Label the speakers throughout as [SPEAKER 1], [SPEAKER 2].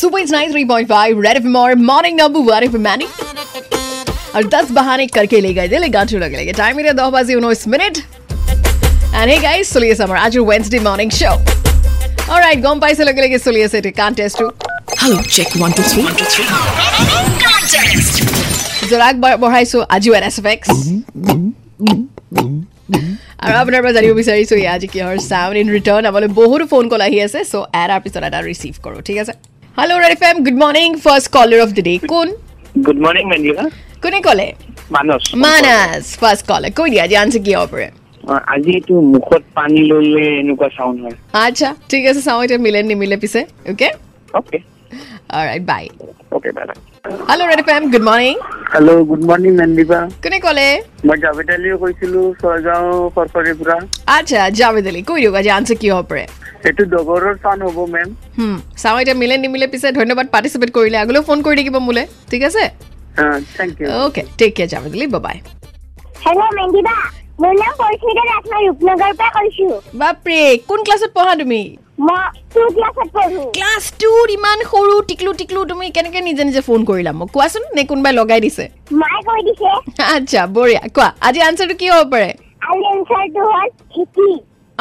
[SPEAKER 1] Super nine three point five red F और morning अबू वारिफ मैनी और दस बहाने करके ले गए दिल गांठू लग लगे टाइम मेरा दो बजे उन्नीस मिनट एंड हे गाइस सुलिए समर आज वेडनेसडे मॉर्निंग शो ऑलराइट गम पाई से लगे लगे सुलिए से contest to
[SPEAKER 2] Hello, check one, two, three.
[SPEAKER 1] জোৰাক ব- বঢ়াইছোঁ আজিও এন এছ এফ এক্স আৰু আপোনাৰ পৰা জানিব বিচাৰিছোঁ এয়া আজি কিহৰ চাউণ্ড ইন ৰিটাৰ্ণ আমালৈ বহুতো ফোন কল আহি আছে চ' এটাৰ পিছত এটা ৰিচিভ কৰোঁ ঠিক আছে hello' red F M good morning first caller of the day কোন
[SPEAKER 3] गुड मॉर्निंग मंजिला
[SPEAKER 1] কোনে ক'লে
[SPEAKER 3] মানস
[SPEAKER 1] মানাছ ফাৰ্ষ্ট কলাৰ কৈ দিয়া আজি আনছে কিহৰ পৰা
[SPEAKER 3] অ, Uh, আজি এইটো মুখত পানী ললে এনেকুৱা চাউণ্ড হয়
[SPEAKER 1] আচ্ছা ঠিক আছে চাওঁ এতিয়া মিলে নিমিলে পিছে okay
[SPEAKER 3] okay
[SPEAKER 1] right bye
[SPEAKER 3] okay bye bye
[SPEAKER 1] hello' red F M good morning
[SPEAKER 3] hello' good morning নন্দিবা
[SPEAKER 1] কোনে ক'লে
[SPEAKER 3] মই জাভেদ আলিও কৈছিলো চৰগাঁও ফৰফৰীৰ পৰা
[SPEAKER 1] আচ্ছা জাভেদ আলি কৈ দিয়ক আজি আনছে কিহৰ পৰা
[SPEAKER 3] এইটো ডগৰৰ চাউণ্ড হ'ব মেম
[SPEAKER 1] হুম, চাওঁ এতিয়া মিলে নিমিলে পিছে ধন্যবাদ পাৰ্টিচিপেট কৰিলে আগলৈও ফোন কৰি থাকিব মোলৈ ঠিক আছে
[SPEAKER 3] thank you
[SPEAKER 1] okay take care যাম বুলি বাবাই
[SPEAKER 4] হেল্ল' মেণ্ডিবা মোৰ নাম পৰিস্মিতা দাস মই ৰূপনগৰৰ পৰা কৈছো
[SPEAKER 1] বাপৰে কোন ক্লাছত পঢ়া তুমি
[SPEAKER 4] মই টু ক্লাছত পঢ়ো
[SPEAKER 1] ক্লাছ টুত ইমান সৰু টিকলু টিকলু তুমি কেনেকৈ নিজে নিজে ফোন কৰিলা মোক কোৱাচোন নে কোনোবাই লগাই দিছে
[SPEAKER 4] মায়ে কৈ দিছে
[SPEAKER 1] আচ্ছা বঢ়িয়া কোৱা আজি আনচাৰটো কি হ'ব পাৰে
[SPEAKER 4] আৰু এনচাৰটো হ'ল শিকি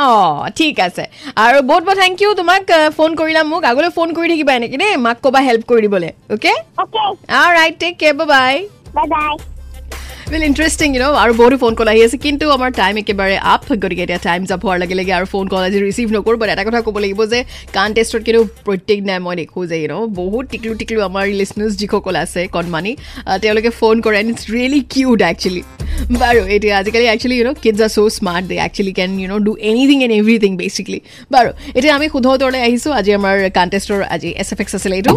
[SPEAKER 1] অঁ ঠিক আছে আৰু বহুত বহুত থেংক ইউ তোমাক ফোন কৰিলা মোক আগলৈ ফোন কৰি থাকিবা এনেকৈ দেই মাক ক'বা হেল্প কৰি দিবলৈ okay
[SPEAKER 4] okay
[SPEAKER 1] right take care bye
[SPEAKER 4] bye bye
[SPEAKER 1] well interesting you know আৰু বহুতো ফোন কল আহি আছে কিন্তু আমাৰ টাইম একেবাৰে আপ গতিকে এতিয়া টাইম জাপ হোৱাৰ লগে লগে আৰু ফোন কল আজি ৰিচিভ নকৰোঁ বাট এটা কথা ক'ব লাগিব যে কণ্টেষ্টত কিন্তু প্ৰত্যেকদিনাই মই দেখোঁ যে ইউ ন বহুত টিকলু টিকলু আমাৰ লিচনাৰ্ছ যিসকল আছে কণমানি আহ, তেওঁলোকে ফোন কৰে and it's really cute actually বাৰু এতিয়া আজিকালি actually you know kids are so' smart they actually can you know do anything and everything basically বাৰু এতিয়া আমি শুদ্ধ উত্তৰলৈ আহিছোঁ আজি আমাৰ কণ্টেষ্টৰ আজি এছ এফ এক্স আছিলে এইটো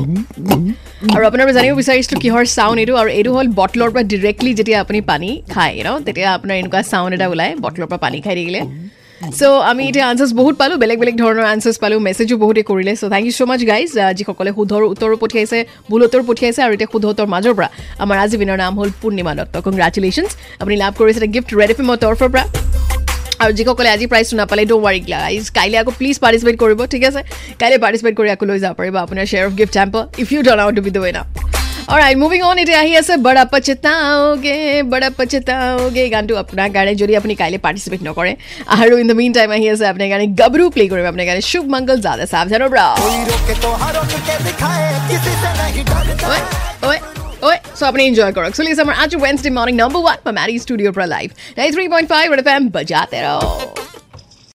[SPEAKER 1] আৰু আপোনাৰ পৰা জানিব বিচাৰিছিলোঁ কিহৰ চাউণ্ড এইটো আৰু এইটো হ'ল বটলৰ পৰা ডিৰেক্টলি যেতিয়া আপুনি পানী খায় ন তেতিয়া আপোনাৰ এনেকুৱা চাউণ্ড এটা ওলায় বটলৰ পৰা পানী খাই থাকিলে চ' আমি এতিয়া আনচাৰ্ছ বহুত পালোঁ বেলেগ বেলেগ ধৰণৰ আনচাৰ্ছ পালোঁ মেছেজো বহুতে কৰিলে so' thank you so' much guys যিসকলে শুদ্ধৰ উত্তৰো পঠিয়াইছে ভুল উত্তৰ পঠিয়াইছে আৰু এতিয়া শুদ্ধ উত্তৰ মাজৰ পৰা আমাৰ আজি বিনৰ নাম হ'ল পূৰ্ণিমা দত্ত কংগ্ৰেচুলেশ্যনছ আপুনি লাভ কৰিছে এটা গিফ্ট ৰেড এফ এমৰ তৰফৰ পৰা আৰু যিসকলে আজি প্ৰাইজটো নাপালে ডোন ৱাৰি গাইজ কাইলৈ আকৌ প্লিজ পাৰ্টিচিপেট কৰিব ঠিক আছে কাইলৈ পাৰ্টিচিপেট কৰি আকৌ লৈ যাব পাৰিব আপোনাৰ share of gift hamper if you turn out to be the one right moving on এতিয়া আহি আছে বৰা পচেতাওগে বৰা পচেতাওগে এই গানটো আপোনাৰ কাৰণে যদি আপুনি কাইলৈ পাৰ্টিচিপেট নকৰে আৰু ইন দ্য মিন টাইম আহি আছে আপোনাৰ কাৰণে গবৰু প্লে' কৰিম আপোনাৰ কাৰণে শুভ মংগল জাদা সাৱধানৰ পৰা
[SPEAKER 5] कोई रोके तो हर रोक के दिखाए किसी से नहीं डरता
[SPEAKER 1] ঐ ঐ ঐ চ' আপুনি এনজয় কৰক চলি আছে আমাৰ আজি ৱেডনেছডে মৰ্নিং নম্বৰ ওৱান মেৰী ষ্টুডিঅ'ৰ পৰা live nine three point five F M বজাতে ৰহ